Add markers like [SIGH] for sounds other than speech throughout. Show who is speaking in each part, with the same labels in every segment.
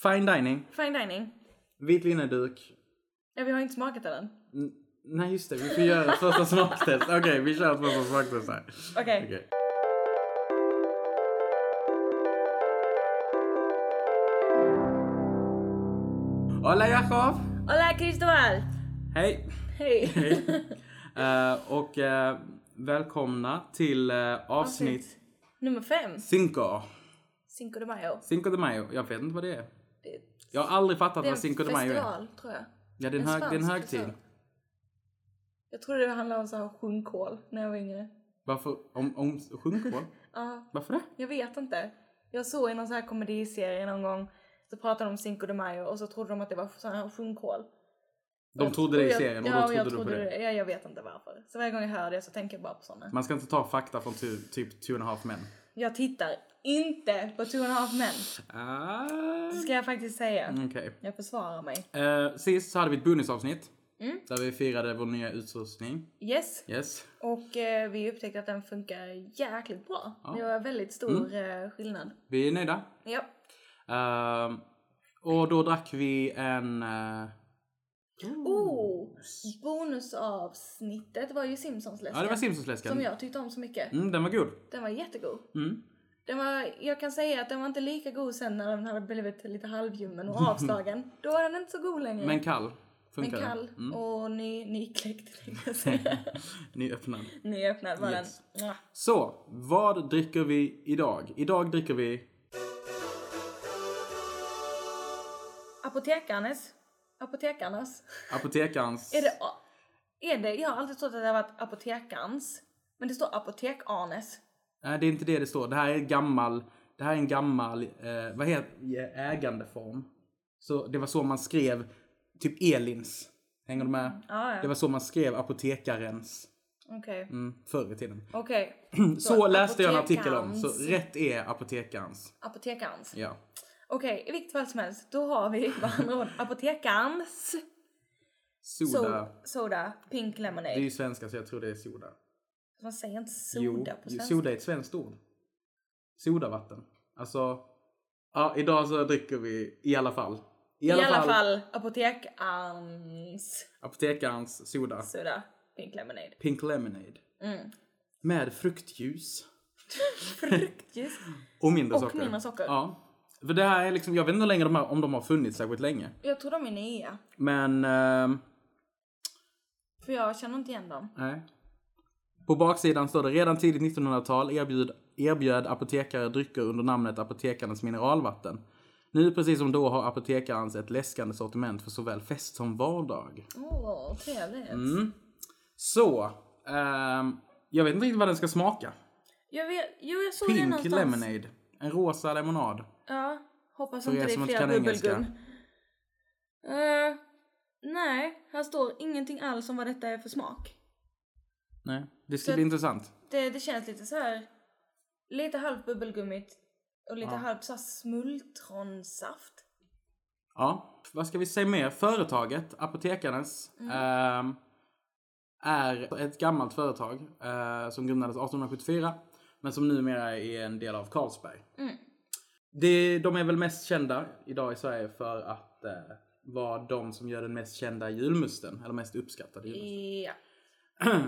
Speaker 1: Fine dining,
Speaker 2: Fine dining.
Speaker 1: vit lineduk.
Speaker 2: Ja, vi har inte smakat av den.
Speaker 1: N- Nej just det, vi får göra ett första smaktest. Okej, vi kör ett första smaktest här.
Speaker 2: Okej.
Speaker 1: Okej. Hola Jakob!
Speaker 2: Hola Cristobal!
Speaker 1: Hej!
Speaker 2: Hej! [LAUGHS]
Speaker 1: Eh, och eh, välkomna till eh, avsnitt
Speaker 2: Nummer fem.
Speaker 1: Cinco.
Speaker 2: Cinco de Mayo.
Speaker 1: Cinco de Mayo. Jag vet inte vad det är.
Speaker 2: Det är
Speaker 1: Jag har aldrig fattat
Speaker 2: det är
Speaker 1: vad
Speaker 2: en
Speaker 1: Cinco de Mayo är.
Speaker 2: festival, tror jag.
Speaker 1: Ja, det är en,
Speaker 2: en
Speaker 1: hög, det är en
Speaker 2: spansk
Speaker 1: högtid.
Speaker 2: festival. Jag trodde det handlade om så här sjunkål när jag var yngre.
Speaker 1: Varför? Om, om sjunkål?
Speaker 2: Ja,
Speaker 1: Varför det?
Speaker 2: jag vet inte. Jag såg i någon så här komediserie någon gång så pratade de om Cinco de Mayo och så trodde de att det var sån här sjunkål.
Speaker 1: De trodde det i serien och
Speaker 2: ja,
Speaker 1: då
Speaker 2: jag
Speaker 1: trodde du på det.
Speaker 2: Ja, jag vet inte varför. Så varje gång jag hör det så tänker jag bara på såna.
Speaker 1: Man ska inte ta fakta från ty, typ two and a half men.
Speaker 2: Jag tittar inte på Two and a Half Men.
Speaker 1: Ah.
Speaker 2: Det ska jag faktiskt säga.
Speaker 1: Okej.
Speaker 2: Jag försvarar mig.
Speaker 1: Eh, sist så hade vi ett bonusavsnitt.
Speaker 2: Mm.
Speaker 1: Där vi firade vår nya utrustning.
Speaker 2: Yes.
Speaker 1: Yes.
Speaker 2: Och eh, vi upptäckte att den funkar jäkligt bra. Det var väldigt stor
Speaker 1: Mm.
Speaker 2: eh, skillnad.
Speaker 1: Vi är nöjda.
Speaker 2: Ja.
Speaker 1: Ehm, och då drack vi en... eh,
Speaker 2: Oh! Bonusavsnittet var ju Simpsons läsk.
Speaker 1: ja, det var Simpsonsläsken.
Speaker 2: Som jag tyckte om så mycket.
Speaker 1: Mm, den var god.
Speaker 2: Den var jättegod.
Speaker 1: Mm.
Speaker 2: Den var, jag kan säga att den var inte lika god sen när den hade blivit lite
Speaker 1: [LAUGHS]
Speaker 2: halvljummen och avslagen. Då var den inte så god längre.
Speaker 1: Men kall.
Speaker 2: Men
Speaker 1: Funkar den?
Speaker 2: kall
Speaker 1: Mm.
Speaker 2: och ny, nykläckt tänkte jag säga.
Speaker 1: [LAUGHS] Nyöppnad.
Speaker 2: Nyöppnad var
Speaker 1: Yes.
Speaker 2: den. Mwah.
Speaker 1: Så, vad dricker vi idag? Idag dricker vi...
Speaker 2: Apotekarnes. Apotekarnas.
Speaker 1: Apotekarens...
Speaker 2: Är det, a- är det, jag har alltid trott att det har varit apotekarns. Men det står apotekarnes.
Speaker 1: Nej, det är inte det det står. Det här är en gammal... Det här är en gammal... Eh, vad heter Ägandeform. Så det var så man skrev typ Elins. Hänger du med?
Speaker 2: Ja, ja.
Speaker 1: Det var så man skrev apotekarens
Speaker 2: Okej.
Speaker 1: mm, förr i tiden.
Speaker 2: Okej.
Speaker 1: [CLEARS THROAT] Så, läste jag en artikel om. Så
Speaker 2: apotekarens.
Speaker 1: rätt är apotekarens.
Speaker 2: Apotekarns.
Speaker 1: Ja.
Speaker 2: Okej, i vilket fall som helst. Då
Speaker 1: [LAUGHS]
Speaker 2: har vi med andra ord apotekarns.
Speaker 1: Soda.
Speaker 2: Soda. soda. Pink lemonade.
Speaker 1: Det är ju svenska så jag tror det är soda.
Speaker 2: Man säger inte
Speaker 1: Jo,
Speaker 2: soda på
Speaker 1: jo,
Speaker 2: svenska.
Speaker 1: soda är ett svenskt ord. Sodavatten. Alltså, ja, idag så dricker vi i alla fall.
Speaker 2: I alla, fall, apotekarns
Speaker 1: Apotekarens soda.
Speaker 2: soda. Pink lemonade. [LAUGHS]
Speaker 1: Pink lemonade.
Speaker 2: Mm.
Speaker 1: Med fruktjuice.
Speaker 2: Fruktjuice.
Speaker 1: Och mindre
Speaker 2: Och
Speaker 1: socker.
Speaker 2: mindre socker.
Speaker 1: Ja. För det här är liksom, jag vet inte hur länge de här, om de har funnits särskilt länge.
Speaker 2: Jag tror de är nya.
Speaker 1: Men, ehm,
Speaker 2: För jag känner inte igen dem.
Speaker 1: nej. På baksidan står det redan tidigt 1900-tal erbjud, erbjöd apotekare drycker under namnet apotekarnas mineralvatten. Nu precis som då har apotekarens ett läskande sortiment för såväl fest som vardag.
Speaker 2: Åh, trevligt.
Speaker 1: Mm. Så, ehm, jag vet inte riktigt vad den ska smaka.
Speaker 2: Jag vet, jo jag såg det
Speaker 1: Pink
Speaker 2: någonstans.
Speaker 1: lemonade. En rosa lemonad.
Speaker 2: Ja, hoppas
Speaker 1: För
Speaker 2: inte
Speaker 1: er
Speaker 2: det
Speaker 1: som
Speaker 2: är
Speaker 1: inte
Speaker 2: fler
Speaker 1: kan engelska.
Speaker 2: bubbelgum. Eh, nej, här står ingenting alls om vad detta är för smak.
Speaker 1: Nej, det ska bli intressant.
Speaker 2: Det, det känns lite så här lite halvt bubbelgummigt och lite halvt så här smultronsaft.
Speaker 1: Ja, vad ska vi säga mer? Företaget, Apotekarnes,
Speaker 2: Mm.
Speaker 1: ehm, är ett gammalt företag eh, som grundades 1874 men som numera är en del av Carlsberg.
Speaker 2: Mm.
Speaker 1: Det, de är väl mest kända idag i Sverige för att eh, vara de som gör den mest kända julmusten, eller mest uppskattade julmusten.
Speaker 2: Ja,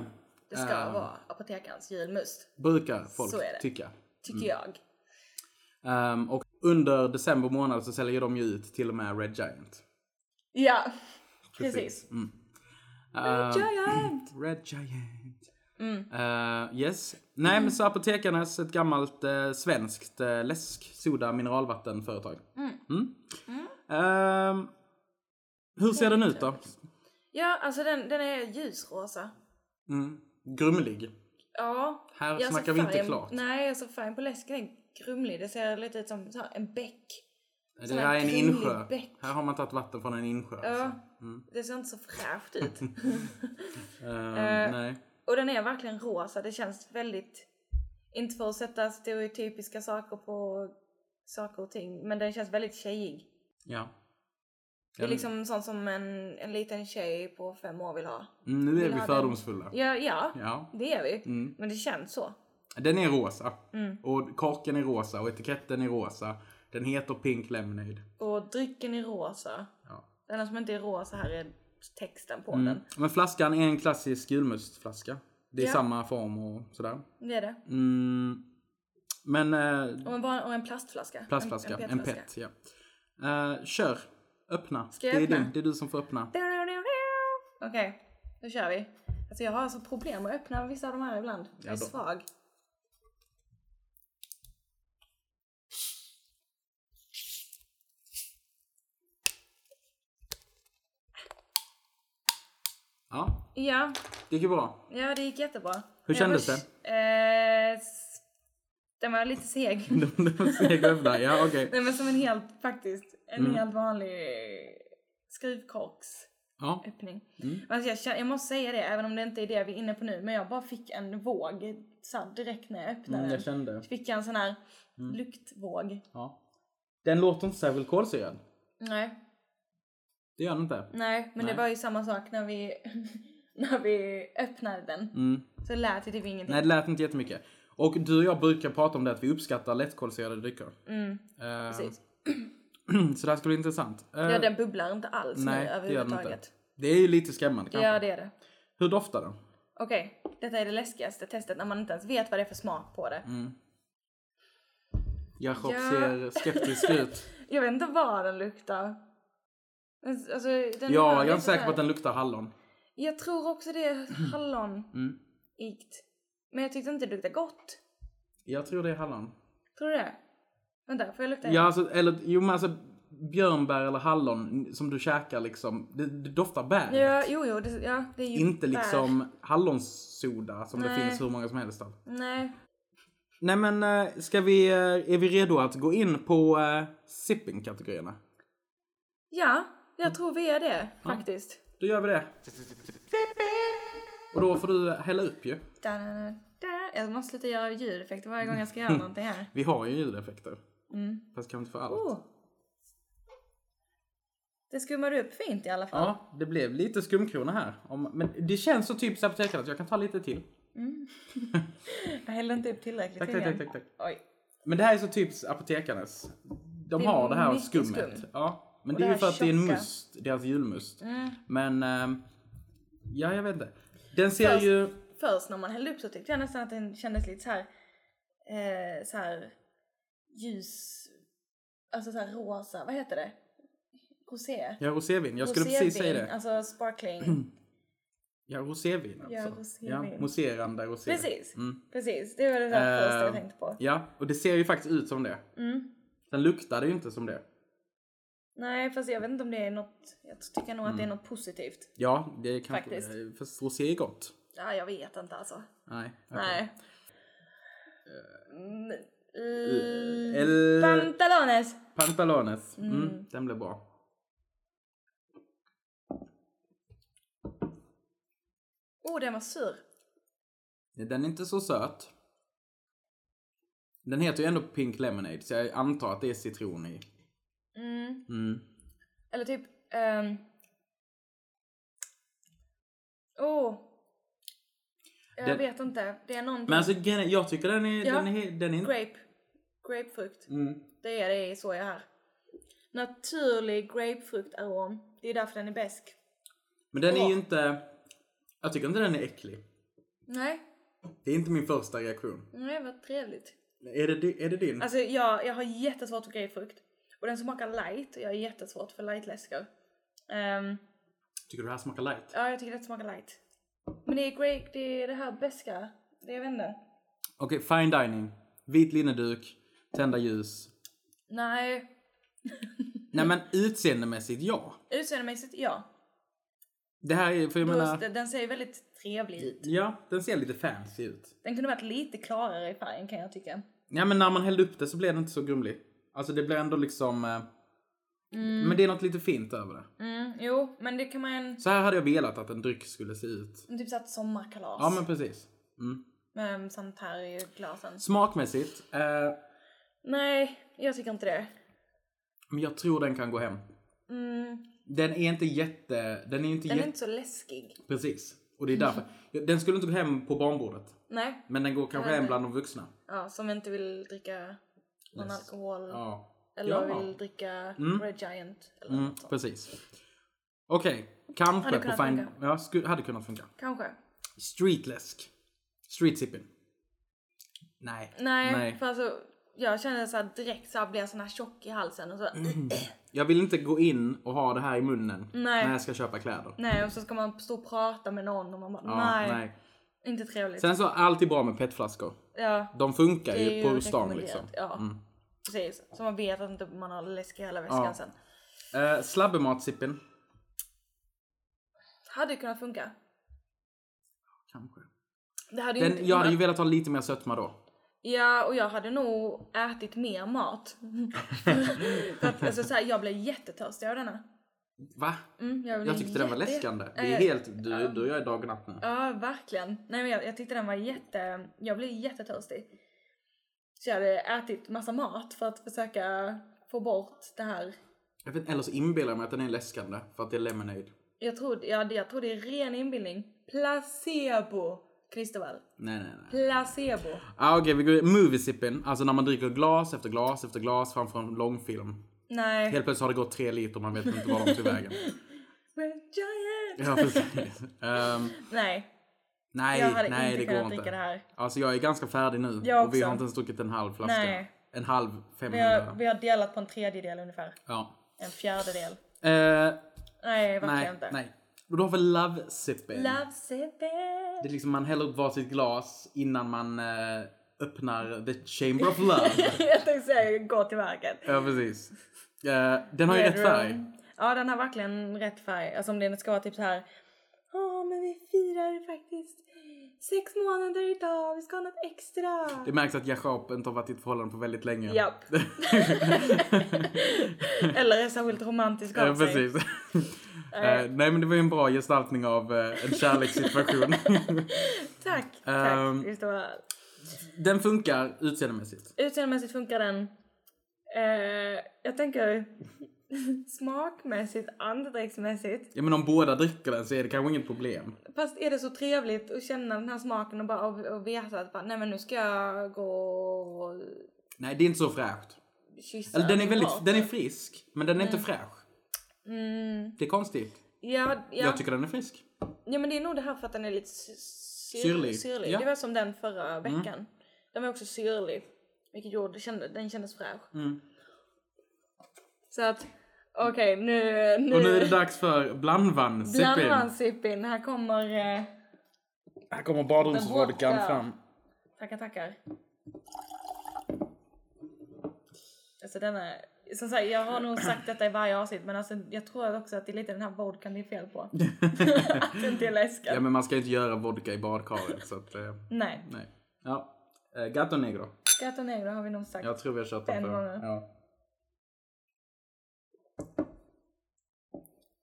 Speaker 2: det ska
Speaker 1: Ehm.
Speaker 2: vara apotekarens julmust,
Speaker 1: Brukar folk
Speaker 2: Så är det.
Speaker 1: tycka.
Speaker 2: tycker jag.
Speaker 1: Ehm, och under december månad så säljer de ju ut till och med Red Giant.
Speaker 2: Ja, precis.
Speaker 1: Mm. Ehm.
Speaker 2: Red Giant!
Speaker 1: Red Giant.
Speaker 2: Mm.
Speaker 1: Eh, yes. Nej men så Apotekarnas, ett gammalt eh, svenskt eh, läsk, soda, mineralvattenföretag. Mm. Ehm, hur ser den ut då?
Speaker 2: Ja, alltså den, den är ljusrosa.
Speaker 1: Mm. Grumlig.
Speaker 2: Ja.
Speaker 1: Här
Speaker 2: jag
Speaker 1: snackar
Speaker 2: såg
Speaker 1: vi inte
Speaker 2: färgen-
Speaker 1: klart.
Speaker 2: Nej, alltså färgen på läsken är grumlig. Det ser lite ut som så här, en bäck.
Speaker 1: Det
Speaker 2: sån här
Speaker 1: här är en
Speaker 2: grumlig
Speaker 1: insjö.
Speaker 2: bäck.
Speaker 1: Här har man tagit vatten från en insjö.
Speaker 2: Ja,
Speaker 1: alltså.
Speaker 2: det ser inte så
Speaker 1: [LAUGHS]
Speaker 2: fräscht ut.
Speaker 1: Ehm,
Speaker 2: Eh,
Speaker 1: nej.
Speaker 2: och den är verkligen rosa. Det känns väldigt... Inte för att sätta stereotypiska saker på saker och ting, men den känns väldigt tjejig.
Speaker 1: Ja.
Speaker 2: Det är liksom sånt som en, en liten tjej på fem år vill ha.
Speaker 1: Mm, Nu är
Speaker 2: ha
Speaker 1: vi
Speaker 2: den.
Speaker 1: fördomsfulla.
Speaker 2: Ja, ja,
Speaker 1: Ja. Mm.
Speaker 2: det är vi. Men det känns så. Mm.
Speaker 1: Den är rosa. Och korken är rosa och etiketten är rosa. Den heter Pink Lemonade.
Speaker 2: Och drycken är rosa.
Speaker 1: Ja.
Speaker 2: Det enda som inte är rosa här är texten på
Speaker 1: Mm.
Speaker 2: den.
Speaker 1: Men flaskan är en klassisk julmustflaska. Det är
Speaker 2: Ja.
Speaker 1: samma form och sådär.
Speaker 2: Det är det.
Speaker 1: Mm. Men eh,
Speaker 2: Och en, van- och en plastflaska.
Speaker 1: plastflaska, en,
Speaker 2: petflaska.
Speaker 1: pet. Ja. Eh, kör, öppna.
Speaker 2: Ska jag
Speaker 1: det, är
Speaker 2: öppna?
Speaker 1: Du, det är du som får öppna.
Speaker 2: Okej, då kör vi. Alltså jag har alltså problem med att öppna vissa av de här ibland. Jag är
Speaker 1: Ja då.
Speaker 2: svag.
Speaker 1: Ja,
Speaker 2: Ja,
Speaker 1: det gick ju bra. [LAUGHS]
Speaker 2: ja det gick jättebra.
Speaker 1: Hur
Speaker 2: Jag
Speaker 1: kändes
Speaker 2: var- Eh, s- den var lite
Speaker 1: [LAUGHS]
Speaker 2: seg.
Speaker 1: De- de steg upp där, ja okej.
Speaker 2: Nej men som en helt, faktiskt, en
Speaker 1: Mm.
Speaker 2: helt vanlig skrivkorks.
Speaker 1: Ja.
Speaker 2: öppning.
Speaker 1: Mm.
Speaker 2: Alltså jag, känner, jag måste säga det, även om det inte är det vi är inne på nu, men jag bara fick en våg så här, direkt när jag öppnade
Speaker 1: Mm,
Speaker 2: den.
Speaker 1: jag kände. Mm.
Speaker 2: Fick jag en sån här luktvåg.
Speaker 1: Ja. Den låter inte särskilt kolsyrad.
Speaker 2: Nej,
Speaker 1: Det gör den inte.
Speaker 2: nej, men
Speaker 1: Nej.
Speaker 2: det var ju samma sak när vi, [LAUGHS] när vi öppnade den.
Speaker 1: Mm.
Speaker 2: Så lät det typ ingenting.
Speaker 1: Nej, det lät inte jättemycket. Och du och jag brukar prata om det att vi uppskattar lättkolsyrade drycker.
Speaker 2: Mm,
Speaker 1: Eh, [CLEARS THROAT]
Speaker 2: precis.
Speaker 1: så det här ska bli intressant. Eh,
Speaker 2: Ja, den bubblar inte alls
Speaker 1: nej, det
Speaker 2: nu
Speaker 1: gör den inte.
Speaker 2: överhuvudtaget.
Speaker 1: Det är ju lite skrämmande kanske.
Speaker 2: Ja, det är det.
Speaker 1: Hur doftar den?
Speaker 2: Okej, detta är det läskigaste testet när man inte ens vet vad det är för smak på det.
Speaker 1: Mm. Jakob
Speaker 2: Ja.
Speaker 1: ser skeptisk ut.
Speaker 2: Jag vet inte vad den luktar. Alltså, [LAUGHS] den
Speaker 1: Ja,
Speaker 2: har
Speaker 1: jag är
Speaker 2: lite
Speaker 1: inte säker på
Speaker 2: så här-
Speaker 1: att den luktar hallon.
Speaker 2: Jag tror också det
Speaker 1: [CLEARS THROAT]
Speaker 2: är hallonikt.
Speaker 1: Mm.
Speaker 2: Men jag tyckte inte det luktade gott.
Speaker 1: Jag tror det är hallon.
Speaker 2: Tror du det? Vänta, får jag lukta?
Speaker 1: Ja, alltså, eller jo men alltså björnbär eller hallon som du käkar liksom, det, det doftar bär.
Speaker 2: ja jo, jo, det, ja, det är ju
Speaker 1: Inte
Speaker 2: bär.
Speaker 1: liksom hallonsoda som det
Speaker 2: Nej.
Speaker 1: finns hur många som helst av.
Speaker 2: Nej.
Speaker 1: Nej men, eh, ska vi, eh, är vi redo att gå in på eh, sipping-kategorierna?
Speaker 2: Ja, jag tror vi är det faktiskt.
Speaker 1: Då gör vi det. Och då får du hälla upp ju.
Speaker 2: Da, da, da, da. Jag måste sluta göra ljudeffekter varje gång jag ska
Speaker 1: Mm.
Speaker 2: göra någonting här.
Speaker 1: Vi har ju ljudeffekter.
Speaker 2: Mm.
Speaker 1: Fast kanske inte för allt.
Speaker 2: Oh. Det skummar upp fint i alla fall.
Speaker 1: Ja, det blev lite skumkrona här. Om, men det känns så typiskt apotekaren att jag kan ta lite till.
Speaker 2: Jag hällde inte upp tillräckligt
Speaker 1: Tack, tack,
Speaker 2: tydligen.
Speaker 1: tack, tack, tack.
Speaker 2: Oj.
Speaker 1: Men det här är så typiskt apotekarnas. De
Speaker 2: Det är
Speaker 1: har det här
Speaker 2: mycket
Speaker 1: skummet.
Speaker 2: skum.
Speaker 1: Ja, men
Speaker 2: Och
Speaker 1: det är ju
Speaker 2: det här
Speaker 1: för att det är en
Speaker 2: tjocka.
Speaker 1: must, deras julmust.
Speaker 2: Mm.
Speaker 1: Men, ehm, ja jag vet inte. Den ser
Speaker 2: Först-
Speaker 1: ju,
Speaker 2: först när man hällde upp så tyckte jag nästan att den kändes lite så här, eh, så här ljus, alltså så här rosa, vad heter det? Rosé?
Speaker 1: ja rosévin, jag skulle precis säga det. [CLEARS THROAT]
Speaker 2: Alltså sparkling.
Speaker 1: Ja rosévin alltså.
Speaker 2: Ja, rosévin.
Speaker 1: mousserande rosé.
Speaker 2: Precis.
Speaker 1: Mm.
Speaker 2: Precis, det var det där
Speaker 1: Eh,
Speaker 2: första jag tänkte på.
Speaker 1: Ja, och det ser ju faktiskt ut som det.
Speaker 2: Mm.
Speaker 1: Sen luktar det ju inte som det.
Speaker 2: Nej fast jag vet inte om det är något, jag tycker nog att
Speaker 1: Mm.
Speaker 2: det är något positivt.
Speaker 1: Ja, det är kanske,
Speaker 2: Faktiskt.
Speaker 1: fast rosé är gott.
Speaker 2: Ja, jag vet inte alltså.
Speaker 1: Nej. okej. Eh,
Speaker 2: Nej. Mm. L-
Speaker 1: Eller-
Speaker 2: Pantalones!
Speaker 1: Pantalones. Mm.
Speaker 2: Mm.
Speaker 1: Den blev bra.
Speaker 2: Oh, den var sur.
Speaker 1: Den är inte så söt. Den heter ju ändå Pink Lemonade, så jag antar att det är citron i.
Speaker 2: Mm.
Speaker 1: Mm.
Speaker 2: Eller typ... ehm, Åh! oh. jag
Speaker 1: Den-
Speaker 2: vet inte. Det är någon
Speaker 1: Men alltså grejen är- jag tycker den är...
Speaker 2: Ja.
Speaker 1: Den är, den är
Speaker 2: grape. Grapefrukt.
Speaker 1: mm.
Speaker 2: Det är det så jag här. Naturlig grapefruktarom. Det är därför den är besk.
Speaker 1: Men den är
Speaker 2: Åh.
Speaker 1: ju inte... Jag tycker inte den är äcklig.
Speaker 2: Nej,
Speaker 1: Det är inte min första reaktion.
Speaker 2: nej vad Mm, trevligt.
Speaker 1: Är det, di- är det din?
Speaker 2: Alltså jag, jag har jättesvårt för grapefrukt. Och den smakar light och jag är jättesvårt för lightläskor. Um,
Speaker 1: Tycker du det här smakar light?
Speaker 2: ja, jag tycker det smakar light. Men det är grape, det är det här beska. Det jag vet inte.
Speaker 1: Okej, fine dining. Vit linneduk. Tända ljus.
Speaker 2: Nej,
Speaker 1: Nej men utseendemässigt ja.
Speaker 2: utseendemässigt ja.
Speaker 1: Det här är, för jag
Speaker 2: Plus,
Speaker 1: menar...
Speaker 2: den- den ser ju väldigt trevlig ut.
Speaker 1: Ja, den ser lite fancy ut.
Speaker 2: Den kunde varit lite klarare i färgen kan jag tycka.
Speaker 1: Ja men när man hällde upp det så blev det inte så grumlig. Alltså det blir ändå liksom... Eh, Men det är något lite fint över det.
Speaker 2: Mm, jo, men det kan man
Speaker 1: Så här hade jag velat att en dryck skulle se ut.
Speaker 2: typ såhär ett sommarkalas.
Speaker 1: Ja men precis. Mm.
Speaker 2: Med sånt här i glasen.
Speaker 1: Smakmässigt, eh,
Speaker 2: Nej, jag tycker inte det.
Speaker 1: men jag tror den kan gå hem.
Speaker 2: Mm,
Speaker 1: Den är inte jätte... Den är inte
Speaker 2: den är
Speaker 1: jätte...
Speaker 2: inte så läskig.
Speaker 1: Precis. Och det är
Speaker 2: [LAUGHS]
Speaker 1: därför. Den skulle inte gå hem på barnbordet.
Speaker 2: Nej,
Speaker 1: Men den går kanske
Speaker 2: Nej,
Speaker 1: hem
Speaker 2: nej.
Speaker 1: bland de vuxna.
Speaker 2: ja, som inte vill dricka någon alkohol.
Speaker 1: Ja.
Speaker 2: Eller
Speaker 1: Ja.
Speaker 2: vill dricka Red Giant. Eller
Speaker 1: Mm,
Speaker 2: något sånt.
Speaker 1: precis. Okej, kanske
Speaker 2: Hade
Speaker 1: på
Speaker 2: kunnat
Speaker 1: fine...
Speaker 2: funka.
Speaker 1: Ja, sku... hade kunnat funka.
Speaker 2: Kanske.
Speaker 1: Streetläsk. Street sipping. Nej.
Speaker 2: Nej, för alltså jag känner så här direkt så här blir jag sån här tjock i halsen och så
Speaker 1: Mm. Jag vill inte gå in och ha det här i munnen
Speaker 2: Nej.
Speaker 1: när jag ska köpa kläder.
Speaker 2: [CLEARS THROAT] Nej och så ska man stå och prata med någon och man bara
Speaker 1: Ja,
Speaker 2: nej, inte trevligt.
Speaker 1: Sen så, allt är bra med petflaskor.
Speaker 2: ja,
Speaker 1: De funkar
Speaker 2: det är
Speaker 1: ju
Speaker 2: ju
Speaker 1: på stan
Speaker 2: rekommenderat.
Speaker 1: liksom.
Speaker 2: Ja, precis. Så man vet att inte man har läsk i hela väskan
Speaker 1: Ja.
Speaker 2: sen.
Speaker 1: Uh, Slabbematsippen.
Speaker 2: Hade ju kunnat funka.
Speaker 1: Kanske.
Speaker 2: Det hade ju
Speaker 1: Den,
Speaker 2: inte
Speaker 1: jag hade ju velat ha lite mer sötma då.
Speaker 2: Ja, och jag hade nog ätit
Speaker 1: [LAUGHS]
Speaker 2: mer mat. för att, alltså, så här, jag blev jättetörstig av denna.
Speaker 1: Va?
Speaker 2: Mm, jag, blev
Speaker 1: Jag tyckte den var
Speaker 2: jätte-
Speaker 1: läskande. Vi
Speaker 2: Eh,
Speaker 1: är helt... Du, du och jag är dag och natt nu.
Speaker 2: Ja, verkligen. Nej, men jag, jag tyckte den var jätte... Jag blev jättetörstig. Så jag hade ätit massa mat för att försöka få bort det här.
Speaker 1: Jag vet, eller så inbillar jag mig att den är läskande för att det är lemonade.
Speaker 2: Jag tror jag, jag tror det är ren inbildning. Placebo, Kristoffer.
Speaker 1: Nej, nej, nej.
Speaker 2: Placebo.
Speaker 1: Ah, Okej, vi går i moviesippen. Alltså när man dricker glas efter glas efter glas framför en långfilm.
Speaker 2: Nej.
Speaker 1: Helt plötsligt har det gått tre liter man vet inte var de tog
Speaker 2: [LAUGHS]
Speaker 1: vägen.
Speaker 2: Red Giant.
Speaker 1: Ja, precis. Ehm,
Speaker 2: Nej,
Speaker 1: nej,
Speaker 2: jag hade
Speaker 1: nej,
Speaker 2: inte
Speaker 1: det går
Speaker 2: kunnat dricka
Speaker 1: inte.
Speaker 2: det här.
Speaker 1: Alltså jag är ganska färdig nu.
Speaker 2: Jag
Speaker 1: och vi har
Speaker 2: också.
Speaker 1: inte ens druckit en halv flaska.
Speaker 2: Nej.
Speaker 1: En halv 500.
Speaker 2: Vi har, vi har delat på en tredjedel ungefär.
Speaker 1: Ja.
Speaker 2: En fjärdedel.
Speaker 1: Eh,
Speaker 2: Nej, verkligen
Speaker 1: nej,
Speaker 2: inte.
Speaker 1: nej. Och då har vi love sipping.
Speaker 2: Love sipping.
Speaker 1: Det är liksom man häller upp varsitt glas innan man eh, öppnar the chamber of
Speaker 2: [LAUGHS]
Speaker 1: love.
Speaker 2: [LAUGHS] jag tänkte säga gå till verket.
Speaker 1: ja, precis. Eh, den har ju rätt färg.
Speaker 2: Ja, den har verkligen rätt färg. Alltså om den ska vara typ så här. Ja, men vi firar faktiskt sex månader idag. Vi ska ha något extra.
Speaker 1: Det märks att Jashap inte har varit i ett förhållande på väldigt länge. [LAUGHS]
Speaker 2: Japp. Eller är särskilt romantisk
Speaker 1: Ja,
Speaker 2: av sig. [LAUGHS]
Speaker 1: precis. Eh, nej men det var ju en bra gestaltning av eh, en kärlekssituation. [LAUGHS]
Speaker 2: Tack,
Speaker 1: Ehm.
Speaker 2: tack. Just det var-
Speaker 1: den funkar utseendemässigt.
Speaker 2: Utseendemässigt funkar den. Eh, jag tänker [LAUGHS] smakmässigt, andedräktsmässigt.
Speaker 1: Ja men om båda dricker den så är det kanske inget problem.
Speaker 2: Fast är det så trevligt att känna den här smaken och bara och, och veta att bara, nej men nu ska jag gå och
Speaker 1: Nej det är inte så fräscht.
Speaker 2: kyssa
Speaker 1: Eller den är
Speaker 2: min
Speaker 1: väldigt,
Speaker 2: partner.
Speaker 1: den är frisk. Men den är inte fräsch.
Speaker 2: Mm,
Speaker 1: Det är konstigt.
Speaker 2: ja, ja.
Speaker 1: Jag tycker den är frisk.
Speaker 2: ja, men det är nog det här för att den är lite syr,
Speaker 1: Syrlig.
Speaker 2: syrlig. syrlig.
Speaker 1: Ja. Mm.
Speaker 2: Det var som den förra veckan. Den var också syrlig. Vilket gjorde, kände- den kändes fräsch.
Speaker 1: Mm.
Speaker 2: Så att, okej nu... nu,
Speaker 1: Och nu är det dags för blandvann.
Speaker 2: Bland
Speaker 1: Sippin.
Speaker 2: annat sippin. Här kommer... Eh,
Speaker 1: Här kommer badrumsvodkan
Speaker 2: Vodka.
Speaker 1: fram.
Speaker 2: Tackar, tackar. Alltså denna, som sagt, jag har nog sagt detta i varje avsnitt men alltså, jag tror också att det är lite den här vodkan det är fel
Speaker 1: [LAUGHS]
Speaker 2: på. att den inte är läskig.
Speaker 1: Ja men man ska ju inte göra vodka i badkaret så att, eh,
Speaker 2: Nej,
Speaker 1: nej. Ja. Eh, Gato negro.
Speaker 2: Gato Negro har vi nog sagt.
Speaker 1: Jag tror vi har kört den
Speaker 2: Den
Speaker 1: förr.
Speaker 2: gången.
Speaker 1: Ja.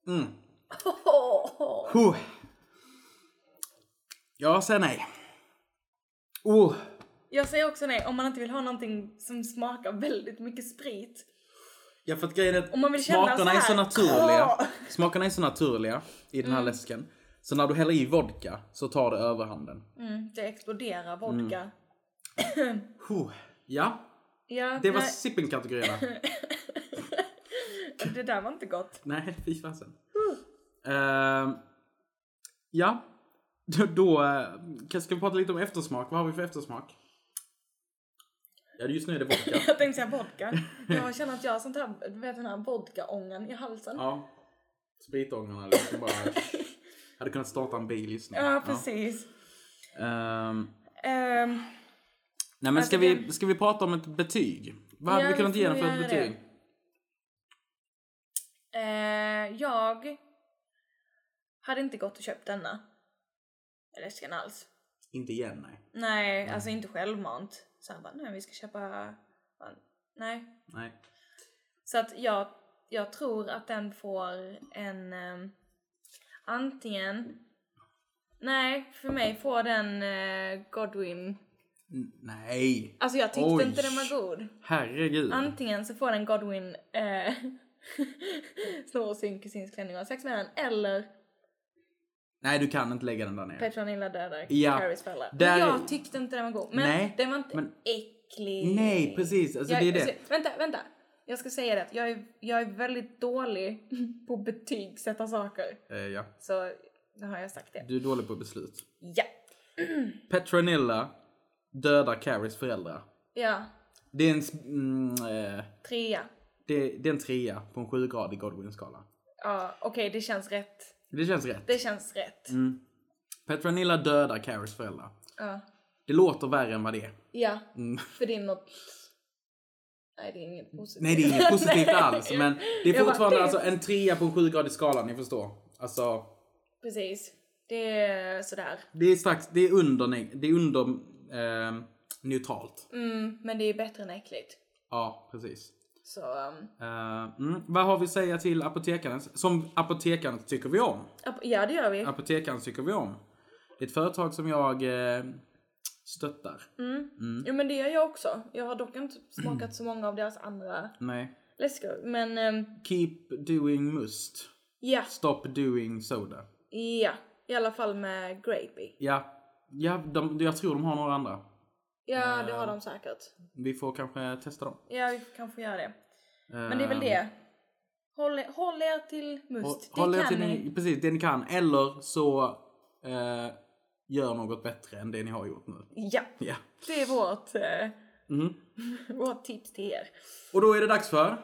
Speaker 1: Mm. Huh. Jag säger nej. Oh,
Speaker 2: [LAUGHS] Jag säger också nej om man inte vill ha någonting som smakar väldigt mycket sprit.
Speaker 1: ja för att grejen är
Speaker 2: Om man
Speaker 1: att
Speaker 2: vill känna
Speaker 1: smakerna är
Speaker 2: så
Speaker 1: så
Speaker 2: här. Mm.
Speaker 1: naturliga.
Speaker 2: Ah.
Speaker 1: Smakerna är så naturliga i den här läsken. Så när du häller i vodka så tar det överhanden.
Speaker 2: Mm, det exploderar vodka.
Speaker 1: Mm. Huh. Ja,
Speaker 2: Ja,
Speaker 1: det var
Speaker 2: nej, [LAUGHS]
Speaker 1: sippen-kategorierna.
Speaker 2: det där var inte gott.
Speaker 1: Nej, fy fasen. Ehm, ja, då, då eh, kan- ska vi prata lite om eftersmak. Vad har vi för eftersmak? Ja, just nu är det vodka.
Speaker 2: [LAUGHS] Jag tänkte säga
Speaker 1: [LAUGHS]
Speaker 2: vodka. Jag känner att jag har sånt här, du vet den här vodkaångan i halsen.
Speaker 1: ja. Spritångorna liksom bara...
Speaker 2: [LAUGHS]
Speaker 1: Hade kunnat starta en bil just nu.
Speaker 2: Ja, precis.
Speaker 1: Ehm,
Speaker 2: Ehm,
Speaker 1: nej men
Speaker 2: Alltså,
Speaker 1: ska vi, ska vi prata om ett betyg? Vad hade
Speaker 2: Ja,
Speaker 1: vi kunnat
Speaker 2: vi
Speaker 1: ge den
Speaker 2: får
Speaker 1: för ett
Speaker 2: göra det.
Speaker 1: betyg?
Speaker 2: eh, jag hade inte gått och köpt denna. Läsken alls.
Speaker 1: Inte igen, nej.
Speaker 2: Nej, alltså inte självmant. Så han bara, nej vi ska köpa... Bara, Nej.
Speaker 1: nej.
Speaker 2: Så att jag, jag tror att den får en... ehm, antingen... Nej, för mig får den eh, Godwin.
Speaker 1: N- Nej!
Speaker 2: Alltså jag tyckte
Speaker 1: Oj.
Speaker 2: inte den var god.
Speaker 1: Herregud.
Speaker 2: Antingen så får den Godwin eh, [LAUGHS] snor sin kusins klänning och har sex med den eller
Speaker 1: nej, du kan inte lägga den där ner.
Speaker 2: Petronilla dödar
Speaker 1: Ja.
Speaker 2: Carries föräldrar. Men
Speaker 1: Där-
Speaker 2: jag tyckte inte den var god. Men
Speaker 1: Nej,
Speaker 2: den var inte
Speaker 1: men-
Speaker 2: äcklig.
Speaker 1: Nej, precis. Alltså, det är det.
Speaker 2: vänta, vänta. Jag ska säga det, att jag är, jag är väldigt dålig [LAUGHS] på att betygsätta saker.
Speaker 1: Eh, ja.
Speaker 2: Så nu har jag sagt det.
Speaker 1: Du är dålig på beslut.
Speaker 2: Ja.
Speaker 1: Petronilla dödar Carries föräldrar.
Speaker 2: Ja.
Speaker 1: Det är en, s- mm, eh,
Speaker 2: Trea.
Speaker 1: det, det är en trea på en sjugradig Godwin-skala.
Speaker 2: Ja, okej det känns rätt.
Speaker 1: Det känns rätt.
Speaker 2: Det känns rätt.
Speaker 1: Mm. Petronilla dödar Carries föräldrar.
Speaker 2: Ja.
Speaker 1: Det låter värre än vad det är.
Speaker 2: Ja,
Speaker 1: Mm.
Speaker 2: för det är något... Nej, det är inget positivt.
Speaker 1: Nej, det är inget
Speaker 2: [LAUGHS]
Speaker 1: positivt alls. Men det är
Speaker 2: Jag bara,
Speaker 1: fortfarande
Speaker 2: det-
Speaker 1: alltså, en trea på en sjugradig skala, ni förstår. Alltså,
Speaker 2: Precis. Det är sådär.
Speaker 1: det är strax, det är under, neg- det är under ehm, neutralt.
Speaker 2: Mm, men det är bättre än äckligt.
Speaker 1: Ja, precis.
Speaker 2: Så, um,
Speaker 1: Eh, mm. Vad har vi att säga till apotekaren? Som apotekaren tycker vi om.
Speaker 2: ap- ja det gör vi.
Speaker 1: Apotekaren tycker vi om. Det är ett företag som jag eh, stöttar.
Speaker 2: Mm.
Speaker 1: Mm.
Speaker 2: Jo men det gör jag också. Jag har dock inte smakat så många av deras andra
Speaker 1: Nej.
Speaker 2: läskor. Men ehm,
Speaker 1: Keep doing must.
Speaker 2: ja,
Speaker 1: Stop doing soda.
Speaker 2: ja. I alla fall med grapey.
Speaker 1: Ja, ja de, jag tror de har några andra.
Speaker 2: Ja det har de säkert.
Speaker 1: Vi får kanske testa dem.
Speaker 2: Ja vi kanske gör det. Men det är väl
Speaker 1: Eh,
Speaker 2: det. Håll, håll er till
Speaker 1: Och
Speaker 2: must.
Speaker 1: Håll
Speaker 2: det
Speaker 1: er
Speaker 2: kan
Speaker 1: till
Speaker 2: ni.
Speaker 1: ni, precis, det ni kan. Eller så eh, gör något bättre än det ni har gjort nu.
Speaker 2: Ja,
Speaker 1: Ja.
Speaker 2: det är vårt, eh,
Speaker 1: Mm.
Speaker 2: [LAUGHS] vårt tips till er.
Speaker 1: Och då är det dags för...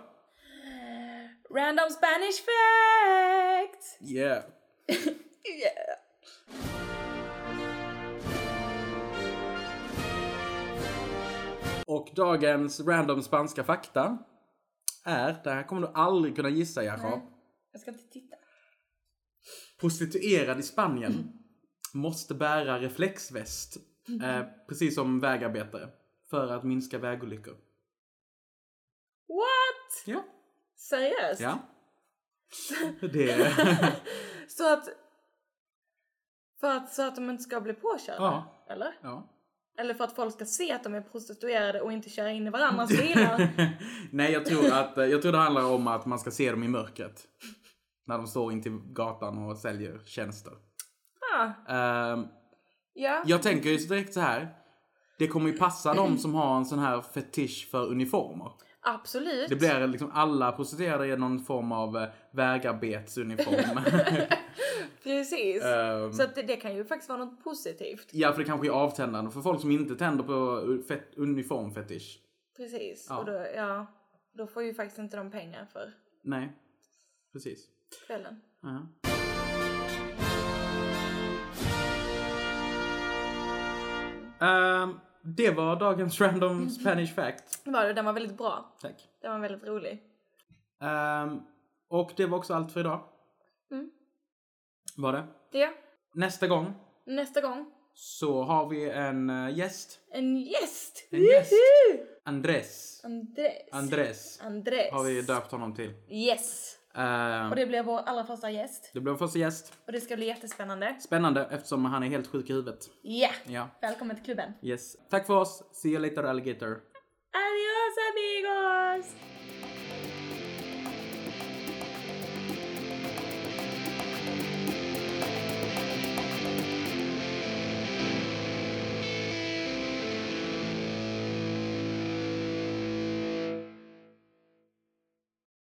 Speaker 2: Random Spanish facts!
Speaker 1: Yeah.
Speaker 2: Yeah.
Speaker 1: Och dagens random spanska fakta är, det här kommer du aldrig kunna gissa Jakob.
Speaker 2: Jag ska inte titta.
Speaker 1: Prostituerad i Spanien måste bära reflexväst, eh, precis som vägarbetare, för att minska vägolyckor.
Speaker 2: What?
Speaker 1: Ja.
Speaker 2: Seriöst? [LAUGHS]
Speaker 1: Ja. Det...
Speaker 2: Så att... För att, så att de inte ska bli påkörda?
Speaker 1: [LAUGHS] Ja.
Speaker 2: Eller?
Speaker 1: Ja. [LAUGHS]
Speaker 2: Eller för att folk ska se att de är prostituerade och inte köra in
Speaker 1: [LAUGHS]
Speaker 2: i varandras bilar?
Speaker 1: Nej, jag tror, att, jag tror det handlar om att man ska se dem i mörkret. När de står in till gatan och säljer tjänster.
Speaker 2: ah,
Speaker 1: Ehm,
Speaker 2: ja.
Speaker 1: jag tänker ju direkt så här. Det kommer ju passa de som har en sån här fetisch för uniformer.
Speaker 2: Absolut.
Speaker 1: Det blir liksom alla prostituerade i någon form av eh, vägarbetsuniform. [LAUGHS]
Speaker 2: Precis.
Speaker 1: Ehm,
Speaker 2: Så att det, det kan ju faktiskt vara något positivt.
Speaker 1: ja, för det kanske är avtändande för folk som inte tänder på fet- uniformfetisch.
Speaker 2: Precis.
Speaker 1: Ja.
Speaker 2: Och då, ja, då får ju faktiskt inte de pengar för
Speaker 1: Nej, precis.
Speaker 2: kvällen.
Speaker 1: Ja. Ehm, det var dagens [LAUGHS] random Spanish fact.
Speaker 2: Det var det. Den var väldigt bra.
Speaker 1: Tack.
Speaker 2: Den var väldigt rolig.
Speaker 1: Ehm, och det var också allt för idag.
Speaker 2: Mm.
Speaker 1: Var det.
Speaker 2: Det.
Speaker 1: Nästa gång
Speaker 2: Nästa gång.
Speaker 1: så har vi en eh, gäst.
Speaker 2: En gäst!
Speaker 1: En gäst.
Speaker 2: Juhu!
Speaker 1: Andres.
Speaker 2: Andres.
Speaker 1: Andres
Speaker 2: Andres.
Speaker 1: har vi döpt honom till.
Speaker 2: Yes!
Speaker 1: Ehm,
Speaker 2: Och det blir vår allra första gäst.
Speaker 1: det blir vår första gäst.
Speaker 2: Och det ska bli jättespännande.
Speaker 1: Spännande eftersom han är helt sjuk i huvudet.
Speaker 2: Ja!
Speaker 1: Ja.
Speaker 2: Välkommen till klubben.
Speaker 1: Yes. Tack för oss. See you later alligator.
Speaker 2: Adios amigos!